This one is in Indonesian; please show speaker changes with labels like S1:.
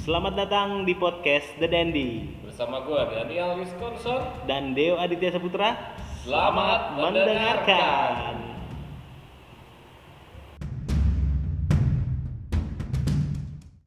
S1: Selamat datang di podcast The Dandy
S2: Bersama gue Daniel Wisconsin.
S1: dan Deo Aditya Saputra.
S2: Selamat mendengarkan.